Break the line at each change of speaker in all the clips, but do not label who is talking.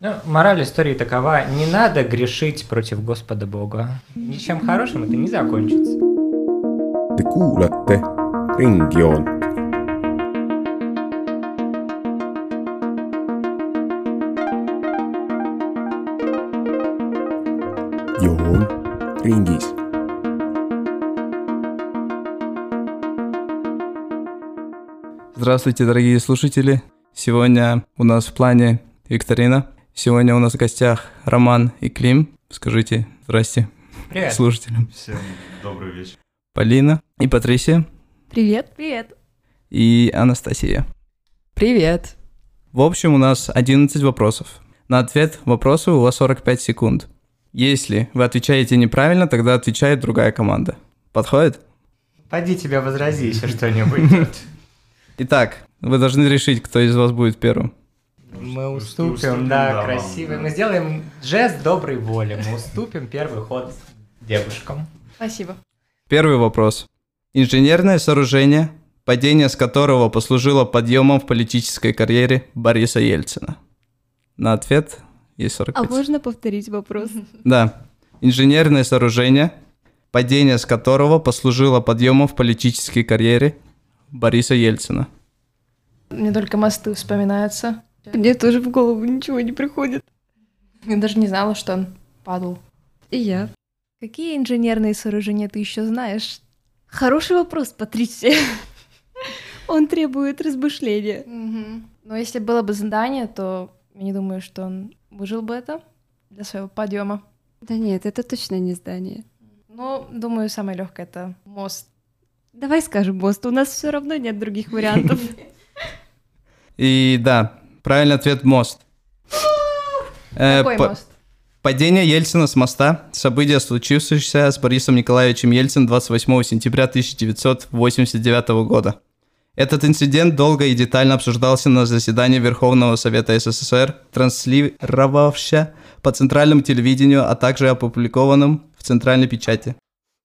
Ну, мораль истории такова. Не надо грешить против Господа Бога. Ничем хорошим это не закончится.
Te kuulate Ringjoont . joon ringis .
Здравствуйте, дорогие слушатели. Сегодня у нас в плане викторина. Сегодня у нас в гостях Роман и Клим. Скажите здрасте
Привет.
слушателям.
Всем добрый вечер.
Полина и Патрисия
Привет. Привет.
и Анастасия.
Привет.
В общем, у нас 11 вопросов. На ответ вопросу у вас 45 секунд. Если вы отвечаете неправильно, тогда отвечает другая команда. Подходит?
Пойди тебе возрази еще что-нибудь.
Итак, вы должны решить, кто из вас будет первым.
Мы
Уст-
уступим,
уступим, да,
да,
вам,
красиво.
да.
Мы сделаем жест доброй воли. Мы уступим первый ход девушкам.
Спасибо.
Первый вопрос. Инженерное сооружение, падение с которого послужило подъемом в политической карьере Бориса Ельцина. На ответ есть 45.
А можно повторить вопрос?
Да. Инженерное сооружение, падение с которого послужило подъемом в политической карьере Бориса Ельцина.
Мне только мосты вспоминаются.
Мне тоже в голову ничего не приходит.
Я даже не знала, что он падал.
И я. Какие инженерные сооружения ты еще знаешь? Хороший вопрос, Патрисия. Он требует размышления.
Но если было бы здание, то я не думаю, что он выжил бы это для своего подъема.
Да нет, это точно не здание.
Но, Ну, думаю, самое легкое это мост.
Давай скажем мост, у нас все равно нет других вариантов.
И да, правильный ответ мост. Э,
Какой
па-
мост?
Падение Ельцина с моста – событие, случившееся с Борисом Николаевичем Ельцином 28 сентября 1989 года. Этот инцидент долго и детально обсуждался на заседании Верховного Совета СССР, транслировався по центральному телевидению, а также опубликованном в центральной печати.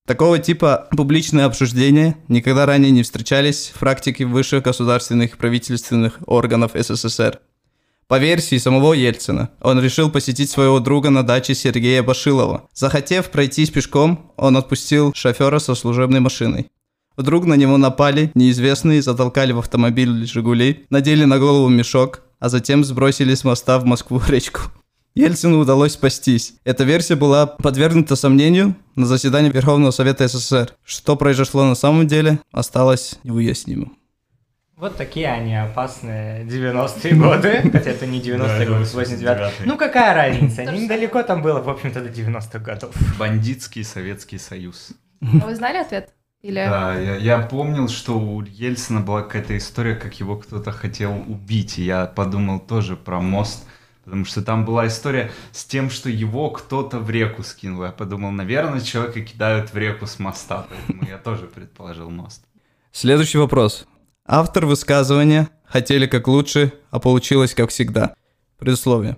Такого типа публичные обсуждения никогда ранее не встречались в практике высших государственных и правительственных органов СССР. По версии самого Ельцина, он решил посетить своего друга на даче Сергея Башилова. Захотев пройтись пешком, он отпустил шофера со служебной машиной. Вдруг на него напали неизвестные, затолкали в автомобиль «Жигули», надели на голову мешок, а затем сбросили с моста в Москву речку. Ельцину удалось спастись. Эта версия была подвергнута сомнению на заседании Верховного Совета СССР. Что произошло на самом деле, осталось невыяснимым.
Вот такие они опасные 90-е годы. Хотя это не 90-е годы, 89-е. Ну какая разница?
То же
Недалеко там было, в общем-то, до 90-х годов.
Бандитский Советский Союз.
А Вы знали ответ? Или...
Да, я, я помнил, что у Ельцина была какая-то история, как его кто-то хотел убить. И я подумал тоже про мост, потому что там была история с тем, что его кто-то в реку скинул. Я подумал, наверное, человека кидают в реку с моста, поэтому я тоже предположил мост.
Следующий вопрос. Автор высказывания «Хотели как лучше, а получилось как всегда». Предусловие.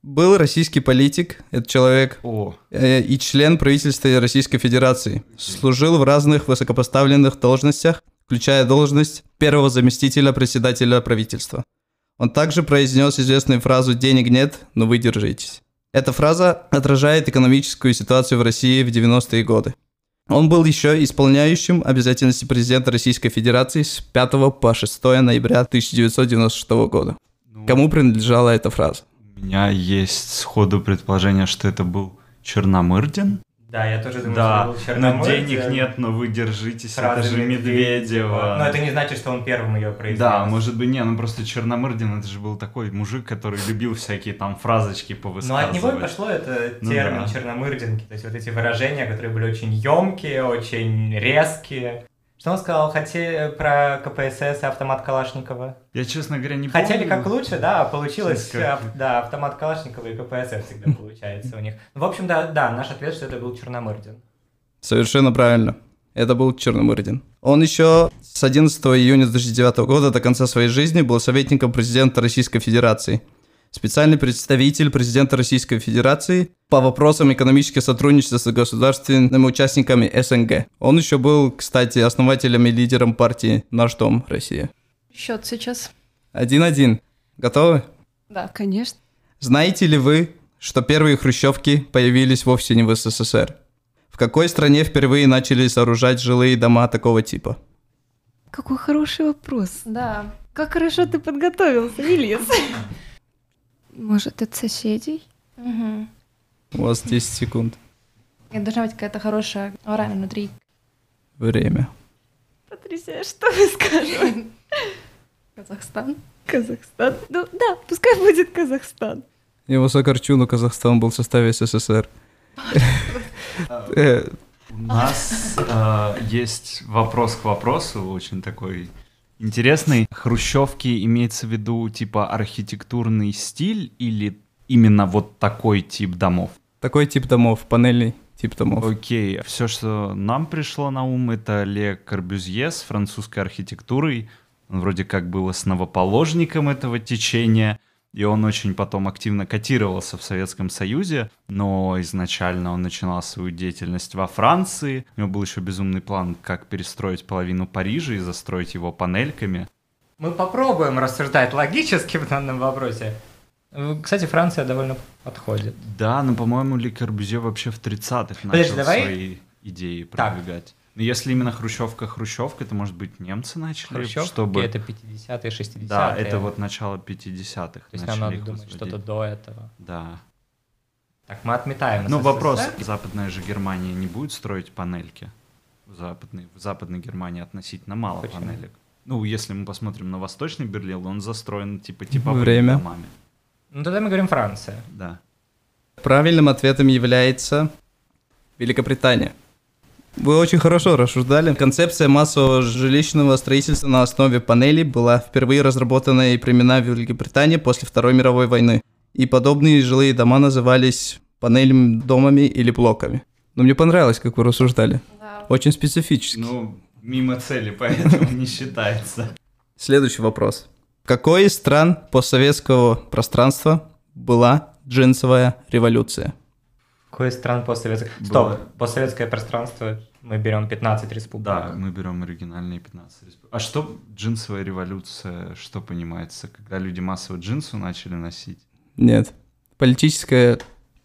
Был российский политик, этот человек,
О,
э, и член правительства Российской Федерации. Служил в разных высокопоставленных должностях, включая должность первого заместителя председателя правительства. Он также произнес известную фразу «Денег нет, но вы держитесь». Эта фраза отражает экономическую ситуацию в России в 90-е годы. Он был еще исполняющим обязательности президента Российской Федерации с 5 по 6 ноября 1996 года.
ну,
Кому принадлежала эта фраза?
у меня есть сходу предположение, что это был Черномырдин.
Да, я тоже думаю,
Да,
что это был
но
Черномырдин.
денег нет, но вы держитесь,
Фраза
это же Медведева.
Но это не значит, что он первым ее произнес.
Да, может быть, не, ну просто Черномырдин, это же был такой мужик, который любил всякие там фразочки
Но Ну, от
повысказывать.
него и пошло это
Ну
термин
да.
черномырдинки, то есть вот эти выражения, которые были очень емкие, очень резкие. Что он сказал хоте... про КПСС и автомат Калашникова?
Я, честно говоря, не
Хотели
помню.
как лучше, да, а получилось,
Честно, как-
ав- да, автомат Калашникова и КПСС всегда получается у них. Ну, В общем, да, да, наш ответ, что это был Черномырдин.
Совершенно правильно. Это был Черномырдин. Он еще с 11 июня 2009 года до конца своей жизни был советником президента Российской Федерации. Специальный представитель президента Российской Федерации по вопросам экономического сотрудничества с государственными участниками СНГ. Он еще был, кстати, основателем и лидером партии «Наш дом, Россия».
Счет сейчас.
1-1. Готовы?
Да.
Конечно.
Знаете ли вы, что первые хрущевки появились вовсе не в СССР? В какой стране впервые начали сооружать жилые дома такого типа?
Какой хороший вопрос.
Да.
Как хорошо ты подготовился, Ильяс. Может, от соседей?
Мгм.
У вас 10 секунд.
Это должна быть какая-то хорошая ораль внутри.
Время.
Потрясающе, что вы скажете?
Казахстан.
Казахстан. Ну да, пускай будет Казахстан.
Его сокорчуну Казахстан был в составе СССР. Э,
У нас э, есть вопрос к вопросу, очень такой интересный. Хрущевки имеется в виду типа архитектурный стиль или именно вот такой тип домов?
Такой тип домов, панельный тип домов.
Окей, все, что нам пришло на ум, это Ле Корбюзье с французской архитектурой. Он вроде как был основоположником этого течения, и он очень потом активно котировался в Советском Союзе, но изначально он начинал свою деятельность во Франции. У него был еще безумный план, как перестроить половину Парижа и застроить его панельками.
Мы попробуем рассуждать логически в данном вопросе. Э, Кстати, Франция довольно подходит.
Да, но, по-моему, Ле Корбюзье вообще в 30-х начал
Подожди, давай-
свои идеи
Так.
продвигать. Но если именно Хрущевка-Хрущевка, то, может быть, немцы начали,
Хрущевки
чтобы...
это 50-е, 60-е.
Да, это вот начало 50-х.
То есть нам
начали
надо
их
думать
возводить.
что-то до этого.
Да.
Так, мы отметаем.
Ну,
СССР.
вопрос. Западная же Германия не будет строить панельки? В Западной, в Западной Германии относительно мало
Почему?
панелек. Ну, если мы посмотрим на Восточный Берлин, он застроен типа типовыми
Время.
домами.
Ну, тогда мы говорим Франция.
Да.
Правильным ответом является Великобритания. Вы очень хорошо рассуждали. Концепция массового жилищного строительства на основе панелей была впервые разработана и применена в Великобритании после Второй мировой войны. И подобные жилые дома назывались панельными домами или блоками. Но мне понравилось, как вы рассуждали. Очень специфически.
Ну, мимо цели, поэтому не считается.
Следующий вопрос. В какой из стран постсоветского пространства была джинсовая революция?
Какой из стран постсоветское...
Было.
Стоп, постсоветское пространство мы берем 15 республик.
Да, мы берем оригинальные 15 республик. А что джинсовая революция, что понимается, когда люди массово джинсы начали носить?
Нет. Политическая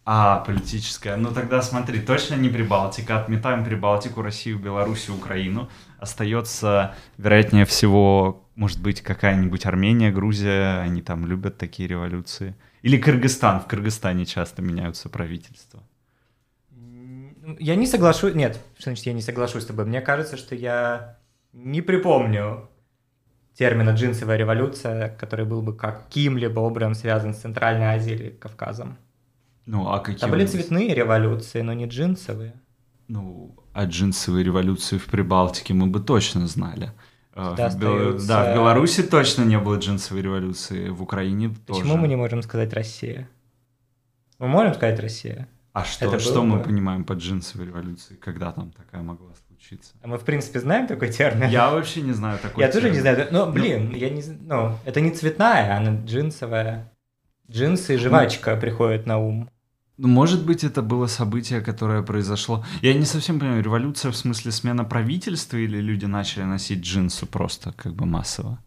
А, политическая. Ну тогда смотри, точно не Прибалтика. Отметаем Прибалтику, Россию, Белоруссию, Украину. Остается, вероятнее всего, может быть, какая-нибудь Армения, Грузия. Они там любят такие революции. Или Кыргызстан. В Кыргызстане часто меняются правительства.
М, Я не соглашусь... Нет, что значит я не соглашусь с тобой? Мне кажется, что я не припомню термина «джинсовая революция», который был бы каким-либо образом связан с Центральной Азией или Кавказом.
Ну, а какие...
Там
у
были
нас-
цветные революции, но не джинсовые.
Ну, о джинсовой революции в Прибалтике мы бы точно знали. Э,
Да,
в Бел-
остаются-
да, в Беларуси точно не было джинсовой революции, в Украине тоже.
Почему мы не можем сказать «Россия»? Мы можем сказать «Россия»,
А что,
Это
что
было
мы
бы-
понимаем под джинсовой революцией? Когда там такая могла случиться?
а мы, в принципе, знаем такой термин.
Я вообще не знаю такой.
Я тоже не
термин.
знаю. Ну, блин, я не зн- Ну, это не цветная, она джинсовая. Джинсы и жвачка приходят на ум.
Ну, может быть, это было событие, которое произошло. Я не совсем понимаю, революция в смысле смена правительства или люди начали носить джинсы просто как бы массово?
Но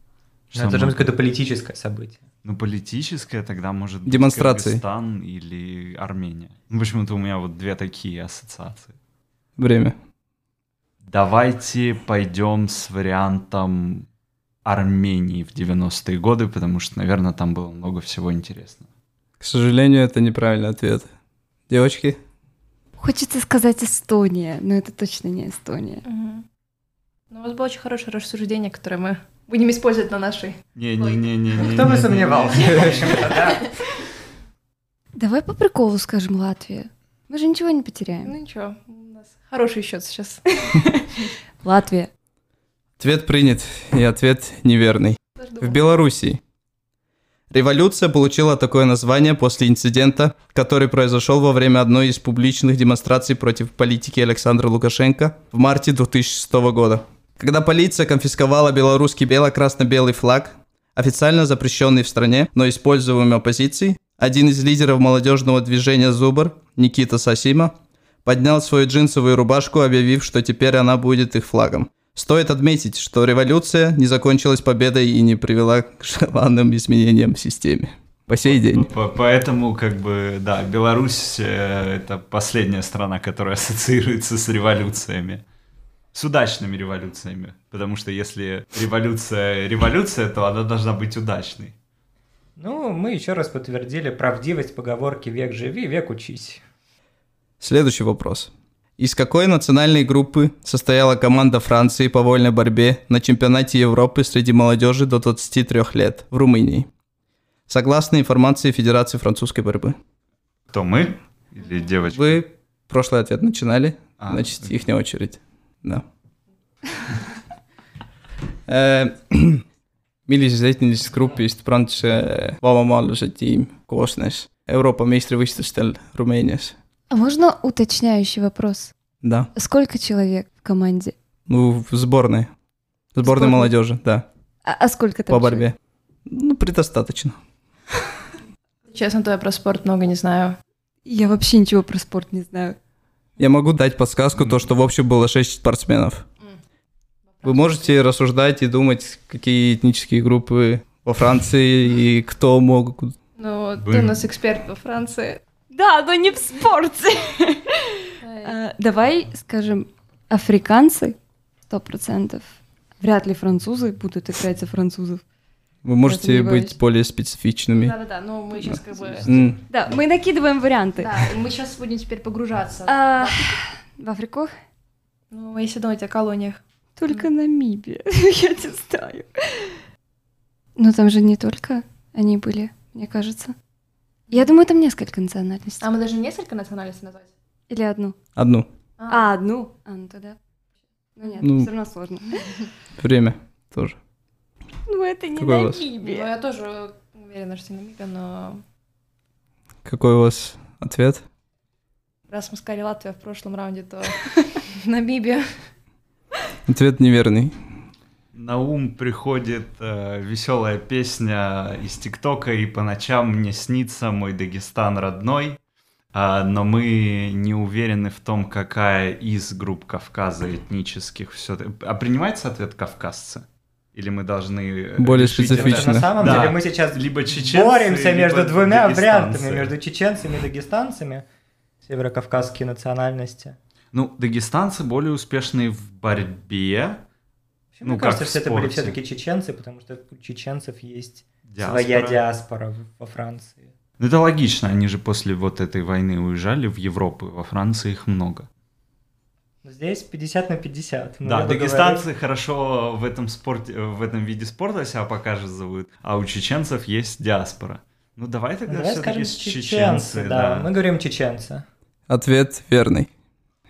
Что
Ну, это должно
мы-
быть какое-то политическое событие.
Ну, политическое тогда может быть
Демонстрации.
Кыргызстан или Армения. Ну, почему-то у меня вот две такие ассоциации.
время.
Давайте пойдем с вариантом Армении в 90-е годы, потому что, наверное, там было много всего интересного.
К сожалению, это неправильный ответ. Девочки,
Хочется сказать Эстония, но это точно не Эстония.
Мгм. Ну, у вас было очень хорошее рассуждение, которое мы будем использовать на нашей.
Не-не-не-не.
Кто бы сомневался, в общем-то, да.
Давай по приколу скажем Латвия. Мы же ничего не потеряем.
Ну ничего, у нас хороший счет сейчас.
Латвия.
ответ принят, и ответ неверный. В Белоруссии. Революция получила такое название после инцидента, который произошел во время одной из публичных демонстраций против политики Александра Лукашенко в марте 2006 года. Когда полиция конфисковала белорусский бело-красно-белый флаг, официально запрещенный в стране, но используемый оппозицией, один из лидеров молодежного движения «Зубр» Никита Сосима поднял свою джинсовую рубашку, объявив, что теперь она будет их флагом. Стоит отметить, что революция не закончилась победой и не привела к желанным изменениям в системе. по сей день.
По- Поэтому, как бы, да, Беларусь э, это последняя страна, которая ассоциируется с революциями. С удачными революциями. Потому что если революция революция, то она должна быть удачной.
Ну, мы еще раз подтвердили правдивость поговорки «век живи, век учись».
Следующий вопрос. Из какой национальной группы состояла команда Франции по вольной борьбе на чемпионате Европы среди молодежи до 23 лет в Румынии? Согласно информации Федерации французской борьбы.
То мы или девочка?
Вы прошлый ответ начинали,
А,
значит,
окей.
их не очередь. Да. Э, millises etnilisest grupist Prantsuse vabamaaluse tiim koosnes Euroopa meistrivõistlustel Rumeenias ?
А можно уточняющий вопрос?
да ,
Сколько человек в команде?
ну в сборной , сборной
Сборной.
молодежи , да ,
А, а сколько там
по
человек?
борьбе . ну предостаточно .
Честно, то я про спорт много не знаю.
Я вообще ничего про спорт не знаю.
Я могу дать подсказку, то, что в общем было 6 спортсменов. Вы можете рассуждать и думать, какие этнические группы во Франции и кто мог...
Ну, вот ты
Блин.
у нас эксперт по Франции.
Да, но не в спорте.
Э,
А, давай скажем, африканцы, сто процентов. Вряд ли французы будут играть за французов.
Вы можете
сомневаюсь.
быть более специфичными.
Да-да-да, ну мы сейчас как бы...
М,
Да, мы накидываем варианты.
Да, мы сейчас будем теперь погружаться.
А, в Африку?
Ну, если думать о колониях.
Только Намибия. Я не знаю. Но там же не только они были, мне кажется. Я думаю, там несколько национальностей.
А мы даже несколько национальностей назвать?
Или одну.
Одну.
А, одну. А, ну тогда. Ну нет,
Ну.
все равно сложно.
Время тоже.
Ну это не
Какой у вас?
Ну,
Намибия.
я тоже уверена, что Намибия, но...
Какой у вас ответ?
Раз мы сказали Латвию в прошлом раунде, то Намибия.
Ответ неверный.
На ум приходит веселая песня из ТикТока «И по ночам мне снится мой Дагестан родной». А, но мы не уверены в том, какая из групп Кавказа этнических все... А принимается ответ «кавказцы»? Или мы должны... э,
Более
решить это?
специфично.
На самом
Да.
деле мы сейчас
Либо чеченцы,
боремся
либо
между двумя
дагестанцы.
вариантами, между чеченцами и дагестанцами, северокавказские национальности.
Ну, дагестанцы более успешные в борьбе.
Вообще, Мне
Ну,
кажется,
как в
что это были
спорте.
все-таки чеченцы, потому что у чеченцев есть
Диаспора.
своя диаспора в- во Франции.
Ну, это логично, они же после вот этой войны уезжали в Европу, во Франции их много.
Но Здесь 50 на 50. Ну,
Да,
я бы
дагестанцы хорошо в этом спорте, э, в этом виде спорта себя показывают, а у чеченцев есть диаспора. Ну давай
говорил-
тогда
Давай
все-таки
скажем
чеченцы,
чеченцы, да.
да.
Мы говорим чеченцы.
Ответ верный.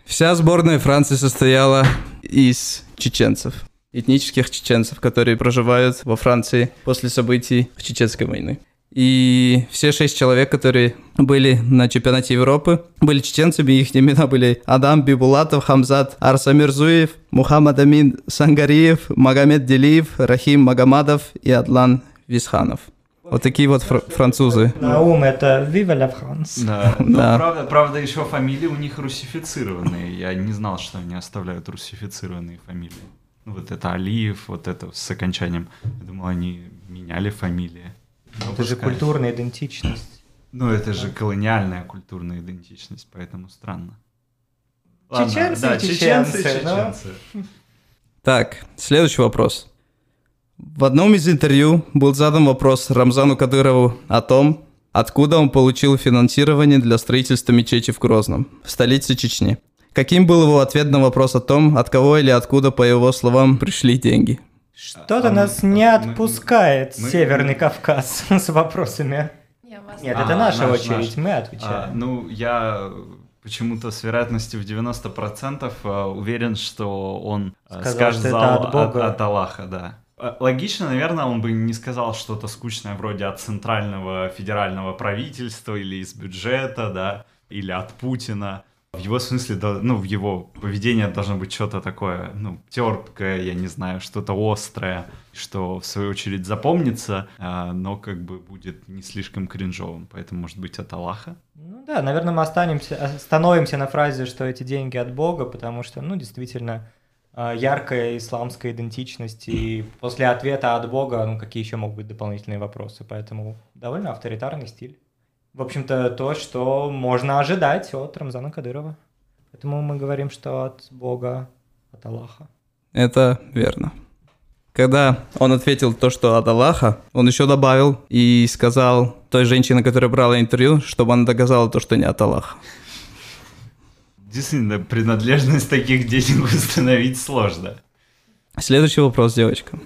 Вся сборная Франции состояла из чеченцев. Этнических чеченцев, которые проживают во Франции после событий в Чеченской войны. И все шесть человек, которые были на чемпионате Европы, были чеченцами. Их имена были Адам Бибулатов, Хамзат Арсамирзуев, Мухаммад Амин Сангариев, Магомед Делиев, Рахим Магомадов и Адлан Висханов. Вот такие вот фр- французы.
На ум это Vive la France.
Да. Ну,
Да.
правда, правда, еще фамилии у них русифицированные. Я не знал, что они оставляют русифицированные фамилии. Ну, вот это Алиев, вот это с окончанием. Я думал, они меняли фамилии. Ну,
Это же
пускай.
культурная идентичность.
Ну, это же колониальная культурная идентичность, поэтому странно.
Чеченцы,
да, чеченцы,
чеченцы, ну.
чеченцы.
Так, следующий вопрос. В одном из интервью был задан вопрос Рамзану Кадырову о том, откуда он получил финансирование для строительства мечети в Грозном, в столице Чечни. Каким был его ответ на вопрос о том, от кого или откуда, по его словам, пришли деньги?
Что-то
А мы-
нас не
а мы-
отпускает
мы-
Северный Кавказ с вопросами.
Я вас...
Нет,
А,
это наша
наш,
очередь,
наш.
мы
А,
отвечаем.
ну, я почему-то с вероятностью в 90% э, уверен, что он э,
Сказал,
скажет
что это
зал
от Бога.
От, Аллаха, да. Э, Логично, наверное, он бы не сказал что-то скучное вроде от центрального федерального правительства или из бюджета, да, или от Путина. В его смысле, да, ну, в его поведении должно быть что-то такое, ну, терпкое, я не знаю, что-то острое, что в свою очередь запомнится, а, но как бы будет не слишком кринжовым, поэтому, может быть, от Аллаха.
Ну да, наверное, мы останемся, остановимся на фразе, что эти деньги от Бога, потому что, ну, действительно, а, э, яркая исламская идентичность, и после ответа от Бога, ну, какие еще могут быть дополнительные вопросы, поэтому довольно авторитарный стиль. В общем-то, то, что можно ожидать от Рамзана Кадырова. Поэтому мы говорим, что от Бога, от Аллаха.
Это верно. Когда он ответил то, что от Аллаха, он еще добавил и сказал той женщине, которая брала интервью, чтобы она доказала то, что не от Аллаха.
Действительно, принадлежность таких денег установить сложно.
Следующий вопрос, девочка.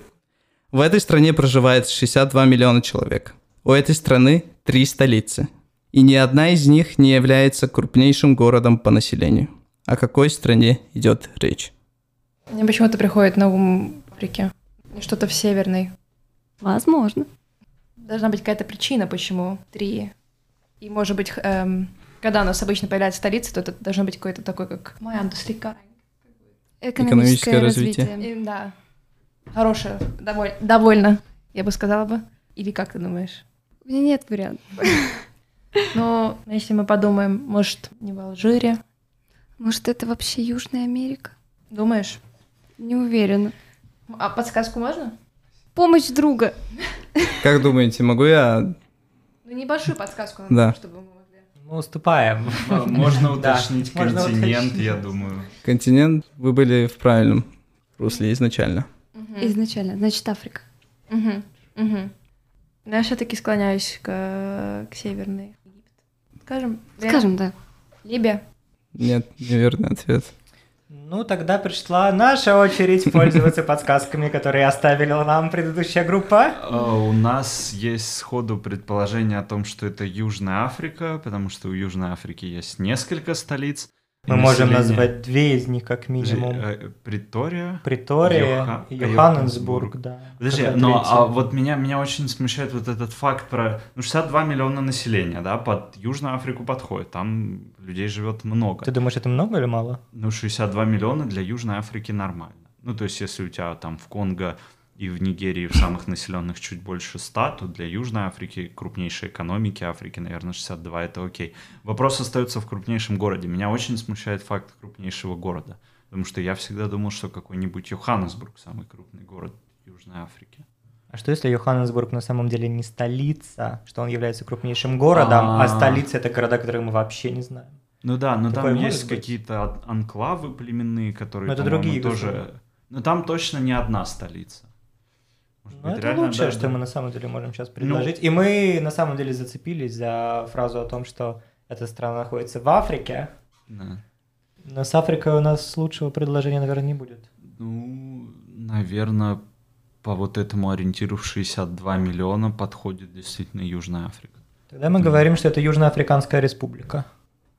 В этой стране проживает 62 миллиона человек. У этой страны три столицы. И ни одна из них не является крупнейшим городом по населению. О какой стране идет речь?
Мне почему-то приходит на ум Африки. Что-то в Северной.
Возможно.
Должна быть какая-то причина, почему три. И, может быть, х- эм, когда у нас обычно появляется столица, то это должно быть какое-то такое, как Майандуслика.
Экономическое развитие.
Эм, Да. Хорошая, доволь- довольно, я бы сказала бы. Или как ты думаешь?
Э, У меня нет вариантов.
Но если мы подумаем, может, не в Алжире?
Может, это вообще Южная Америка?
Думаешь?
Не уверена.
А подсказку можно?
Помощь друга.
Как думаете, могу я?
Ну, небольшую подсказку,
Да.
чтобы мы могли.
Мы уступаем.
М- А, Можно
Да,
уточнить
можно
континент,
уточнить.
я думаю.
Континент, вы были в правильном русле изначально.
Изначально. Значит, Африка.
Угу. Угу. Но я все-таки склоняюсь к, к Северной. Скажем, Ле-
Скажем, да.
Либия.
Нет, неверный ответ.
Ну, тогда пришла наша очередь пользоваться подсказками, которые оставила нам предыдущая группа.
А, У нас есть сходу предположение о том, что это Южная Африка, потому что у Южной Африки есть несколько столиц. И
Мы можем
население-
назвать две из них как
Подожди,
минимум.
э, Притория?
Притория
Йоха-
и
Йоханнесбург.
Йоханнесбург, да.
Подожди,
Какая
но
третья?
а вот меня, меня очень смущает вот этот факт про... Ну, 62 миллиона населения, да, под Южную Африку подходит, там людей живет много.
Ты думаешь, это много или мало?
Ну, 62 миллиона для Южной Африки нормально. Ну, то есть, если у тебя там в Конго и в Нигерии, в самых населенных чуть больше 100, то для Южной Африки, крупнейшей экономики Африки, наверное, 62 — это окей. Вопрос остается в крупнейшем городе. Меня очень смущает факт крупнейшего города, потому что я всегда думал, что какой-нибудь Йоханнесбург — самый крупный город Южной Африки.
А что если Йоханнесбург на самом деле не столица, что он является крупнейшим городом, а,
А.
столица это города, которые мы вообще не знаем?
Ну да, но
Такое
там
может
есть
быть?
какие-то ан- анклавы племенные, которые,
Но это
по-моему,
другие
тоже...
государства.
Но там точно не одна столица. Может
Ну,
быть,
это
реально,
лучшее,
да,
что
да. Ну,
мы на самом деле можем сейчас предложить. И мы на самом деле зацепились за фразу о том, что эта страна находится в Африке.
Да.
Но с Африкой у нас лучшего предложения, наверное, не будет.
Ну, наверное, по вот этому ориентиру в 62 миллиона подходит действительно Южная Африка.
Тогда мы говорим, что это Южноафриканская республика.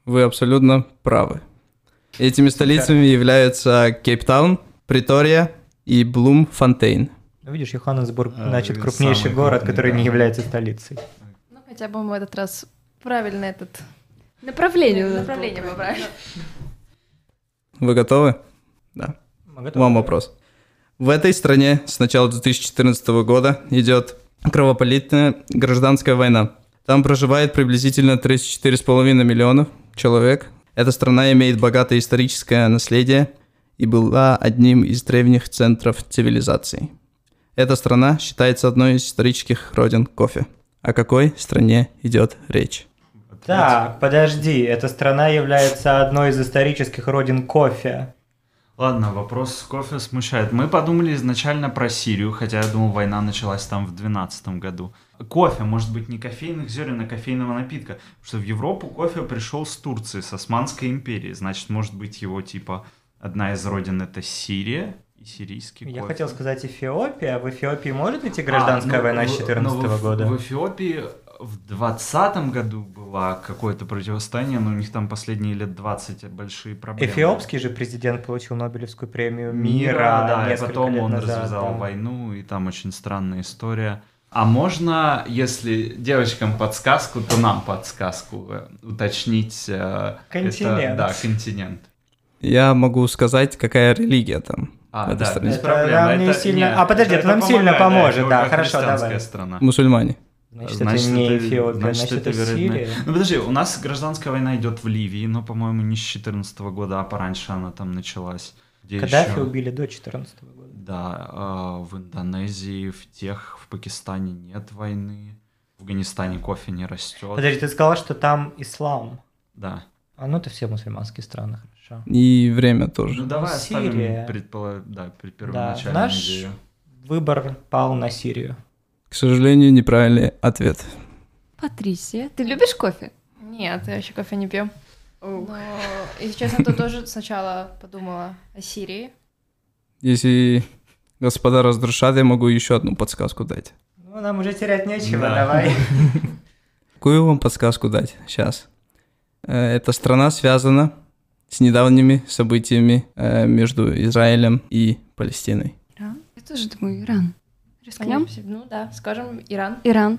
Вы абсолютно правы. Этими столицами являются Кейптаун, Притория и Блумфонтейн.
Ну, видишь, Йоханнесбург,
А,
значит,
это
крупнейший
самый
город,
крупный,
который не
да.
является столицей.
Ну, хотя бы мы этот раз правильно этот...
Направление.
Направление выбрали.
Вы готовы? Да.
Мы готовы?
Вам вопрос. В этой стране с начала 2014 года идет кровопролитная гражданская война. Там проживает приблизительно 34,5 миллионов человек. Эта страна имеет богатое историческое наследие и была одним из древних центров цивилизации. Эта страна считается одной из исторических родин кофе. О какой стране идет речь?
Так, подожди, эта страна является одной из исторических родин кофе.
Ладно, вопрос с кофе смущает. Мы подумали изначально про Сирию, хотя я думал, война началась там в 2012 году. Кофе, может быть, не кофейных зерен, а кофейного напитка. Потому что в Европу кофе пришел с Турции, с Османской империи. Значит, может быть, его типа одна из родин это Сирия и сирийский
Я
кофе.
хотел сказать Эфиопия. В Эфиопии может идти гражданская
А, ну,
война
в-
с 2014
но в-
года?
В Эфиопии в 20 году было какое-то противостояние, но у них там последние лет 20 большие проблемы.
Эфиопский же президент получил Нобелевскую премию мира,
мира, да, и
несколько
потом
лет
он
назад,
развязал
да.
войну, и там очень странная история. А можно, если девочкам подсказку, то нам подсказку э, уточнить. э, это-
Континент.
да, континент.
Я могу сказать, какая религия там.
А,
В этой
да,
стране.
без
Это
проблем.
нам не сильно- а, подожди, это нам сильно
помогает, да,
поможет, да,
это
хорошо,
христианская
давай.
страна.
Мусульмане.
Значит, это не Эфиопия, значит, это,
вероятно.
Сирия.
Ну подожди, у нас гражданская война идет в Ливии, но, по-моему, не с 14 года, а пораньше она там началась. Где
Каддафи
ещё?
убили до 14 года.
Да, а, в Индонезии, в тех, в Пакистане нет войны, в Афганистане кофе не растет.
Подожди, ты сказала, что там ислам.
Да.
А ну это все мусульманские страны, хорошо.
И время тоже.
Ну давай
Сирия.
оставим предпола- да, при первоначальную
наш-
идею.
Выбор пал на Сирию.
К сожалению, неправильный ответ.
Патрисия, ты любишь кофе?
Нет, я еще кофе не пью. Но, если честно, то тоже сначала подумала о Сирии.
Если господа разрушат, я могу еще одну подсказку дать.
Ну, нам уже терять нечего,
Да.
давай.
Какую вам подсказку дать сейчас? Эта страна связана с недавними событиями э, между Израилем и Палестиной.
Я тоже думаю, Иран. Рискнем?
Они- Ну да, скажем, Иран.
Иран.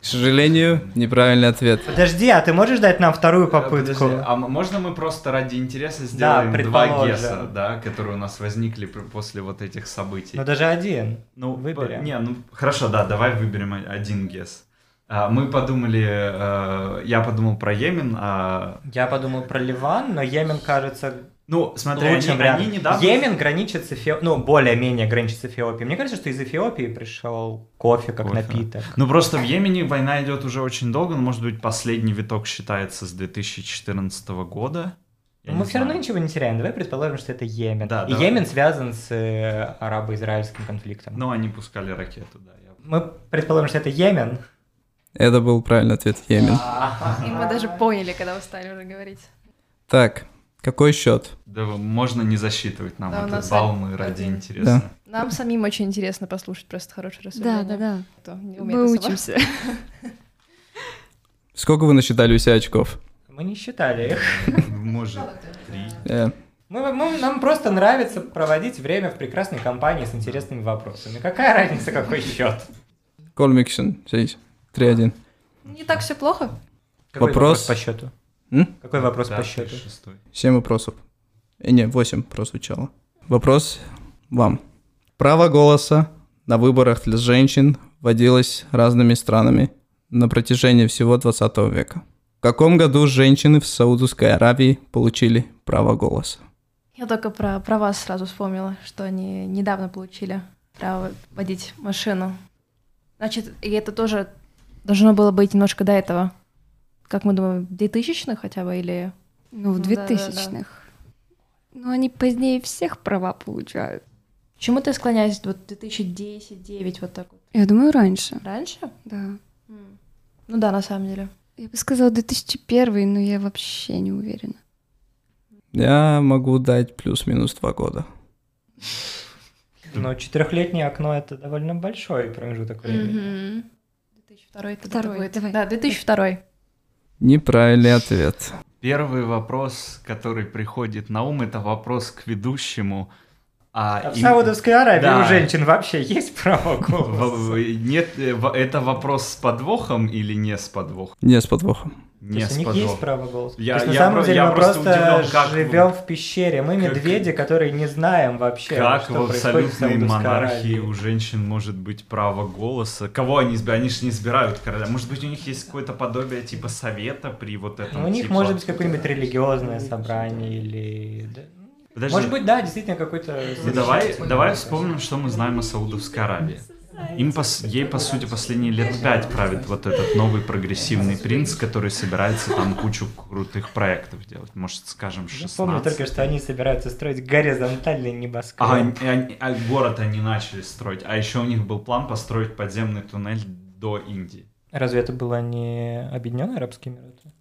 К сожалению, неправильный ответ.
Подожди, а ты можешь дать нам вторую
Э, подожди,
попытку?
а м- можно мы просто ради интереса сделаем два
предположим.
гесса, да, которые у нас возникли при- после вот этих событий?
Ну, даже один.
Ну,
Выберем.
по- Не, ну хорошо, да, давай выберем о- один гес. А, Мы подумали, э, я подумал про Йемен, а,
Я подумал про Ливан, но Йемен кажется
ну, смотри, они,
лучшим вариантом.
они недавно...
Йемен граничит с Эфиопией, ну, более-менее граничит с Эфиопией. Мне кажется, что из Эфиопии пришел кофе как
Кофе.
напиток.
Ну просто в Йемене война идет уже очень долго, но может быть последний виток считается с 2014 года. Я
Но
не
мы все равно
знаю.
ничего не теряем. Давай предположим, что это Йемен.
Да,
И
давай.
Йемен связан с э, арабо-израильским конфликтом.
Ну они пускали ракету, да. я-
Мы предположим, что это Йемен.
Это был правильный ответ Йемен.
И мы даже поняли, когда устали уже говорить.
Так, какой счет?
Да можно не засчитывать нам
Да, у
этот
нас
балл,
один-
мы ради
один.
интереса.
Нам самим очень интересно послушать просто хорошее рассуждение.
Да, да, да.
Кто не умеет
Мы
рисовать.
учимся.
Сколько вы насчитали у себя очков?
Мы не считали их.
Может, три.
Э,
Мы, мы- нам просто нравится проводить время в прекрасной компании с интересными вопросами. Какая разница, какой счет?
Колмикшн, здесь. 3-1.
Не так все плохо.
Какой
Вопрос.
по счету?
М?
Какой вопрос по
Пятый,
счету?
шестой.
7 вопросов. Э, не, 8 прозвучало. Вопрос вам. Право голоса на выборах для женщин вводилось разными странами на протяжении всего 20 века. В каком году женщины в Саудовской Аравии получили право голоса?
Я только про, про вас сразу вспомнила, что они недавно получили право водить машину. Значит, и это тоже должно было быть немножко до этого. Как мы думаем, 2000 хотя бы или...
Ну, в
Ну, да-да-да.
2000-х. Но они позднее всех права получают.
К Чему ты склоняешься? Вот 2010-2009 вот так вот.
Я думаю, раньше.
Раньше?
Да.
Ну да, на самом деле.
Я бы сказала 2001, но я вообще не уверена.
Я могу дать плюс-минус 2 года.
Но четырехлетнее окно это довольно большой промежуток времени.
2002 это
Второй,
будет.
давай.
Да, 2002.
Неправильный ответ.
Первый вопрос, который приходит на ум, это вопрос к ведущему. А,
А в
и-
Саудовской Аравии
Да.
у женщин вообще есть право
в-
голоса?
в- Нет, э, в- это вопрос с подвохом или не с подвохом?
Не с подвохом.
То
Не
есть у
с
них есть
подвохом.
право голоса.
Я-
То есть на
я
самом
про-
деле
я
мы
просто
просто
удивлен, как вы-
живем в пещере. Мы
как-
медведи, которые не знаем вообще,
Как
что
в
происходит в
абсолютной
Саудовской
монархии
Аравии.
у женщин может быть право голоса? Кого они избирают? Они же не избирают короля. Может быть, у них есть какое-то подобие типа совета при вот этом?
Ну, У них
типа-
может быть какое-нибудь религиозное собрание или... да.
Подожди,
Может быть, да, действительно какой-то...
ну, давай, давай вспомним, что мы знаем о Саудовской Аравии. Им по с- ей, по сути, последние лет пять правит вот этот новый прогрессивный принц, который собирается там кучу крутых проектов делать. Может, скажем,
Я помню
16.
только, что они собираются строить горизонтальный небоскреб.
А, они- они- а город они начали строить. А еще у них был план построить подземный туннель до Индии.
Разве это было не Объединенные Арабские Эмираты?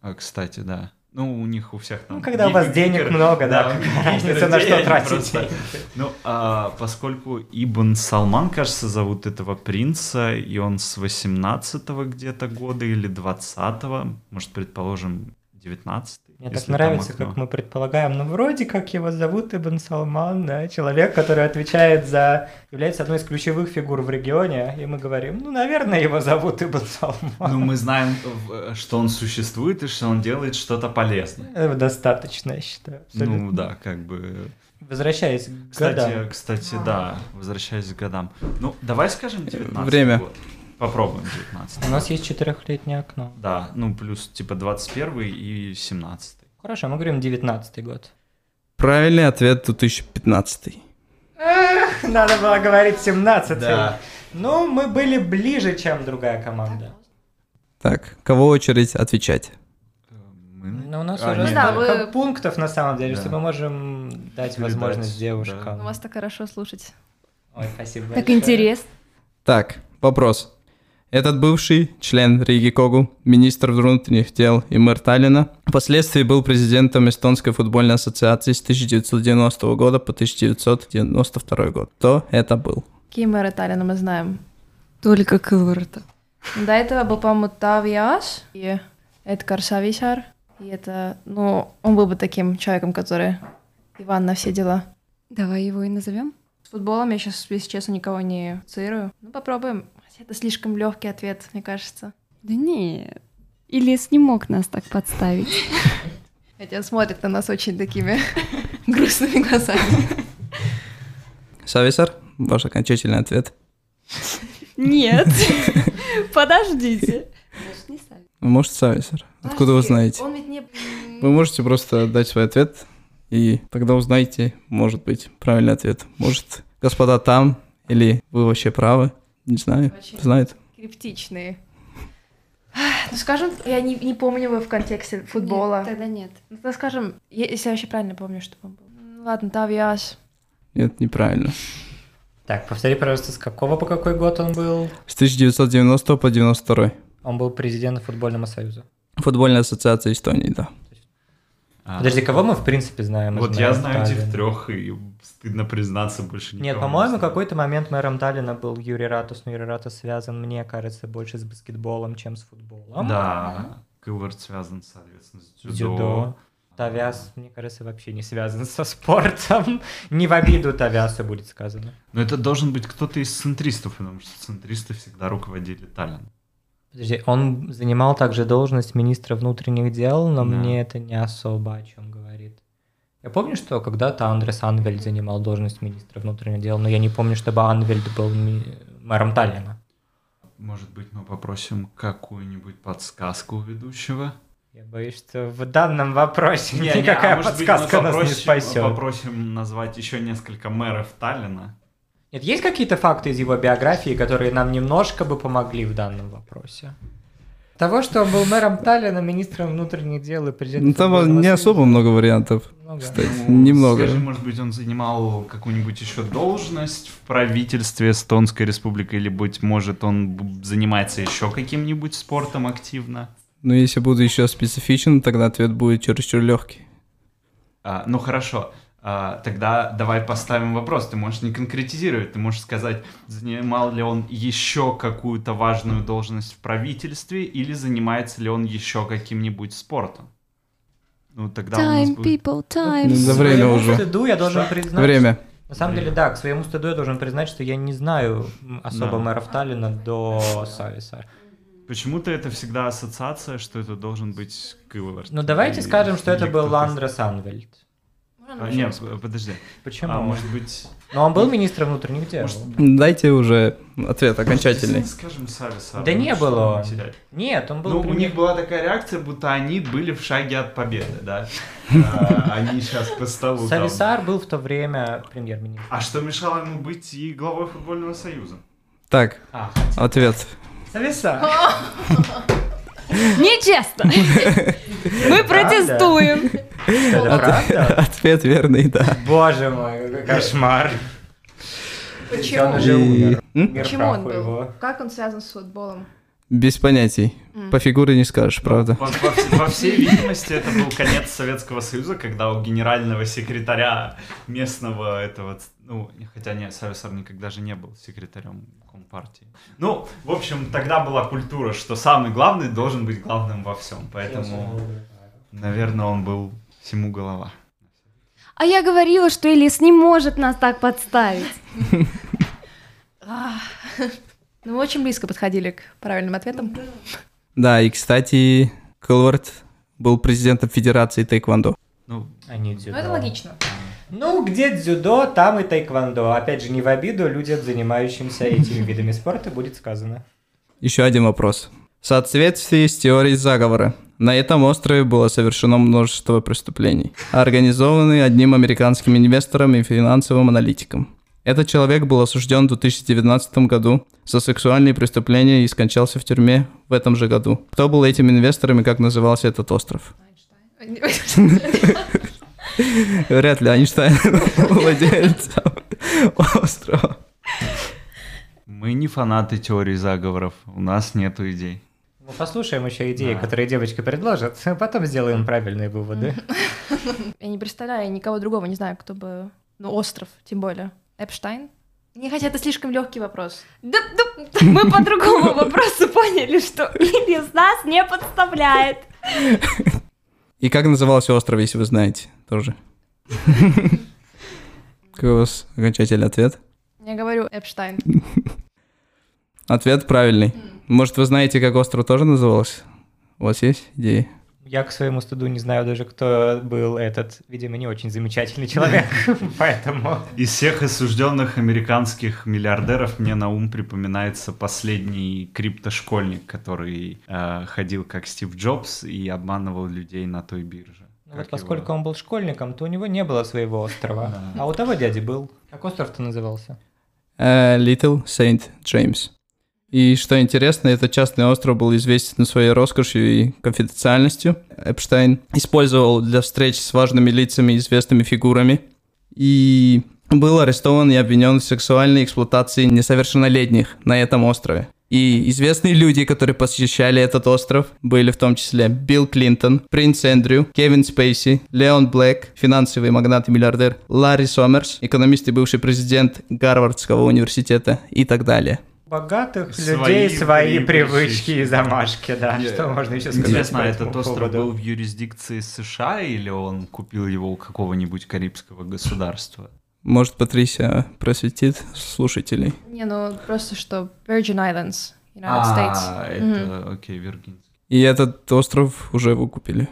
А, кстати, да. Ну, у них у всех там...
Ну, когда у вас
гиг-
денег
гигар-
много, да,
у них
какая
гигар
разница, на
денег
что тратить
просто.
деньги?
Ну, а, поскольку Ибн Салман, кажется, зовут этого принца, и он с 18 где-то года или 20 может, предположим, 19
Мне так нравится, как мы предполагаем. Ну, вроде как его зовут Ибн Салман, да, человек, который отвечает за... является одной из ключевых фигур в регионе, и мы говорим, ну, наверное, его зовут Ибн Салман.
Ну, мы знаем, в- что он существует и что он делает что-то полезное.
Этого Э, достаточно, я считаю. Абсолютно.
Ну, да, как бы...
Возвращаясь к
Кстати,
годам.
кстати, да, возвращаясь к годам. Ну, давай скажем 19
Время.
год. Попробуем 19
У нас есть четырехлетнее окно.
Да, ну плюс типа 21 и 17.
Хорошо, мы говорим 19 год.
Правильный ответ 2015.
Надо было говорить 17.
Да.
Ну, мы были ближе, чем другая команда.
Так, кого очередь отвечать?
Мы-
Но у нас
А,
уже
нет, да.
столько
вы-
пунктов на самом деле,
Да.
что мы можем дать
Передать,
возможность
да.
девушкам.
Ну, Вас так хорошо слушать.
Ой, спасибо.
Так
большое.
интересно.
Так, вопрос. Этот бывший член Риги Когу, министр внутренних дел и мэр Таллина, впоследствии был президентом Эстонской футбольной ассоциации с 1990 года по 1992 год. Кто это был?
Какие мэры Таллина мы знаем?
Только Кылварта.
До этого был, по-моему, Тави Аш, и это Каршависар. И это, ну, он был бы таким человеком, который Иван на все дела.
Давай его и назовем.
С футболом я сейчас, если честно, никого не ассоциирую. Ну, попробуем. Хотя Это слишком легкий ответ, мне кажется.
Да нет. Ильяс не мог нас так подставить.
Хотя смотрят на нас очень такими грустными глазами.
Сависар, ваш окончательный ответ.
Нет. Подождите.
Может, Сависар? Откуда вы знаете?
Он ведь не...
Вы можете просто дать свой ответ, и тогда узнаете, может быть, правильный ответ. Может, господа там, или вы вообще правы, не знаю,
Очень.
знает.
Криптичные. Ну, скажем, я не, не помню его в контексте футбола.
Нет, Тогда нет.
Ну, так скажем, е- если я вообще правильно помню, что он был. Ну, Ладно, Тави Аш.
Нет, неправильно.
Так, повтори, пожалуйста, с какого по какой год он был?
С 1990 по 92
Он был президентом футбольного союза.
Футбольная ассоциация Эстонии, да.
А.
Подожди, кого мы в принципе знаем? из
Вот я
мэров
знаю этих
Таллина?
трех, и стыдно признаться больше никому.
Нет, по-моему, какой-то момент мэром Таллина был Юрий Ратус, но Юрий Ратус связан, мне кажется, больше с баскетболом, чем с футболом.
Да, Кылвард связан, соответственно, с дзюдо.
Дзюдо. Тавиас, мне кажется, вообще не связан со спортом. Не в обиду Тавиасу будет сказано.
Но это должен быть кто-то из центристов, потому что центристы всегда руководили Таллин.
Подожди, он занимал также должность министра внутренних дел, но
Да.
мне это не особо о чем говорит. Я помню, что когда-то Андрес Анвельд занимал должность министра внутренних дел, но я не помню, чтобы Анвельд был ми- мэром Таллина.
Может быть, мы попросим какую-нибудь подсказку у ведущего?
Я боюсь, что в данном вопросе
Не, не,
никакая
а может быть, мы
подсказка нас не
попросим-
спасет.
Попросим назвать еще несколько мэров Таллина.
Нет, есть какие-то факты из его биографии, которые нам немножко бы помогли в данном вопросе? Того, что он был мэром Таллина, министром внутренних дел и президентом...
Ну, там
Футбольного
не
союза.
особо много вариантов.
Много.
Кстати,
Ну,
немного.
Скажи, может быть, он занимал какую-нибудь еще должность в правительстве Эстонской Республики, или, быть может, он б- занимается еще каким-нибудь спортом активно?
Но если буду еще специфичен, тогда ответ будет чересчур легкий.
А, ну, хорошо. А, тогда давай поставим вопрос. Ты можешь не конкретизировать, ты можешь сказать, занимал ли он еще какую-то важную должность в правительстве, или занимается ли он еще каким-нибудь спортом? Ну, тогда у нас
Time,
будет-
people, time.
Ну, за
К
время
своему
уже.
стыду я должен признать...
Время.
На самом деле, да, к своему стыду я должен признать, что я не знаю м, особо
Да.
мэров Таллина до Сависа.
Почему-то это всегда ассоциация, что это должен быть Кылвард.
Ну, давайте
Или-
скажем, что это
или
был
кто-то из-
Андрес Анвельд.
А, Нет, подожди.
Почему?
А может быть...
Но он был министром внутренних дел.
Может,
Дайте уже ответ окончательный.
действительно Скажем Сависа.
Да не было он.
Терять.
Нет, он был...
Ну, у
премьер-
них была такая реакция, будто они были в шаге от победы, да? А, Они сейчас по столу там.
Сависар был в то время премьер-министром.
А что мешало ему быть и главой футбольного союза?
Так,
А,
ответ.
Сависар!
Нечестно. Мы протестуем.
Это правда?
Ответ верный, да.
Боже мой, какой кошмар. Он
Почему?
уже умер.
И- м?
Мир
Почему он
праху
был?
его.
Как он связан с футболом?
Без понятий. По фигуре не скажешь,
Ну,
правда.
По, по вс- по всей видимости, это был конец Советского Союза, когда у генерального секретаря местного этого, ц- ну, не- хотя не, Сависар никогда же не был секретарем Компартии. Ну, в общем, тогда была культура, что самый главный должен быть главным во всем, поэтому, наверное, он был всему голова.
А я говорила, что Элис не может нас так подставить.
Ну, вы очень близко подходили к правильным ответам.
Да, и, кстати, Кэлвард был президентом Федерации Тайквандо.
Ну,
Они дзюдо.
Ну, это логично.
Ну, где дзюдо, там и тайквандо. Опять же, не в обиду людям, занимающимся этими видами спорта, будет сказано.
Еще один вопрос. В соответствии с теорией заговора, На этом острове было совершено множество преступлений, организованные одним американским инвестором и финансовым аналитиком. Этот человек был осужден в 2019 году за сексуальные преступления и скончался в тюрьме в этом же году. Кто был этим инвестором и как назывался этот остров? Вряд ли Эйнштейн был владельцем острова.
Мы не фанаты теории заговоров, у нас нету идей.
Мы Ну, послушаем еще идеи,
Да.
которые девочки предложат, а потом сделаем правильные выводы.
Я не представляю, я никого другого не знаю, кто бы... Ну, остров, тем более. Эпштайн? Не, хотя это слишком легкий вопрос.
Да, да, мы по другому вопросу поняли, что Илья из нас не подставляет.
И как назывался остров, если вы знаете, тоже. Какой у вас окончательный ответ?
Я говорю Эпштайн.
Ответ правильный. Может, вы знаете, как остров тоже назывался? У вас есть идеи?
Я к своему стыду не знаю даже, кто был этот, видимо, не очень замечательный человек, поэтому...
Из всех осужденных американских миллиардеров мне на ум припоминается последний криптошкольник, который э, ходил как Стив Джобс и обманывал людей на той бирже.
Ну
Как
вот
его?
поскольку он был школьником, то у него не было своего острова,
Да.
а у того дяди был. Как остров-то назывался?
Э, Little Saint James. И что интересно, этот частный остров был известен своей роскошью и конфиденциальностью. Эпштейн использовал для встреч с важными лицами и известными фигурами. И был арестован и обвинен в сексуальной эксплуатации несовершеннолетних на этом острове. И известные люди, которые посещали этот остров, были в том числе Билл Клинтон, Принц Эндрю, Кевин Спейси, Леон Блэк, финансовый магнат и миллиардер Ларри Сомерс, экономист и бывший президент Гарвардского университета и так далее.
Богатых
Свои
людей свои
при-
привычки и
привычки.
замашки, да.
Не,
Что можно еще сказать?
Интересно,
по
а
этому
этот остров
поводу?
был в юрисдикции США или он купил его у какого-нибудь карибского государства?
Может, Патрисия просветит слушателей.
Не, ну просто что Virgin Islands, United States.
А, это, окей, Виргинский.
И этот остров уже выкупили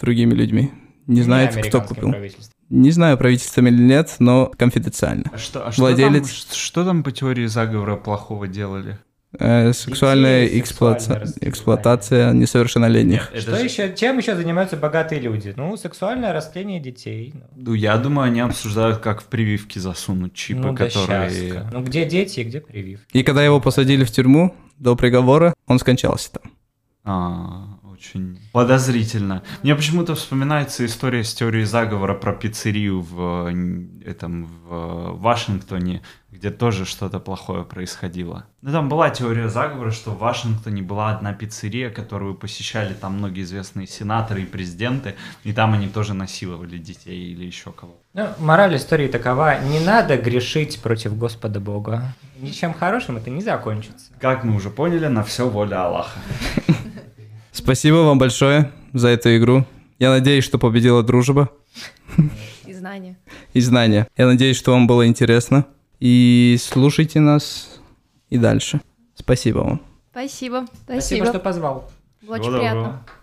другими людьми. Не знает, кто
американским
купил.
правительством.
Не знаю, правительством или нет, но конфиденциально.
А что, а
Владелец-
Что там, ш- что там по теории заговора плохого делали?
Э, сексуальная
Детей,
эксплуата-
сексуальное расцветание.
эксплуатация несовершеннолетних.
Это
Что
же-
еще, чем еще занимаются богатые люди? Ну, сексуальное растление детей. Ну,
Ну, я думаю, они обсуждают, как в прививки засунуть чипы,
ну, да
которые...
щастка. Ну, где дети и где прививки?
И когда его посадили в тюрьму до приговора, он скончался там.
А, очень подозрительно. Мне почему-то вспоминается история с теорией заговора про пиццерию в, э, н- этом, в э, Вашингтоне, где тоже что-то плохое происходило. Ну, там была теория заговора, что в Вашингтоне была одна пиццерия, которую посещали там многие известные сенаторы и президенты, и там они тоже насиловали детей или еще кого-то.
Ну, мораль истории такова. Не надо грешить против Господа Бога. Ничем хорошим это не закончится.
Как мы уже поняли, на все воля Аллаха.
Спасибо вам большое за эту игру. Я надеюсь, что победила дружба
И знания.
и знания. Я надеюсь, что вам было интересно. И слушайте нас и дальше. Спасибо вам.
Спасибо.
Спасибо, что позвал.
Было
Всего
очень приятно.
доброго.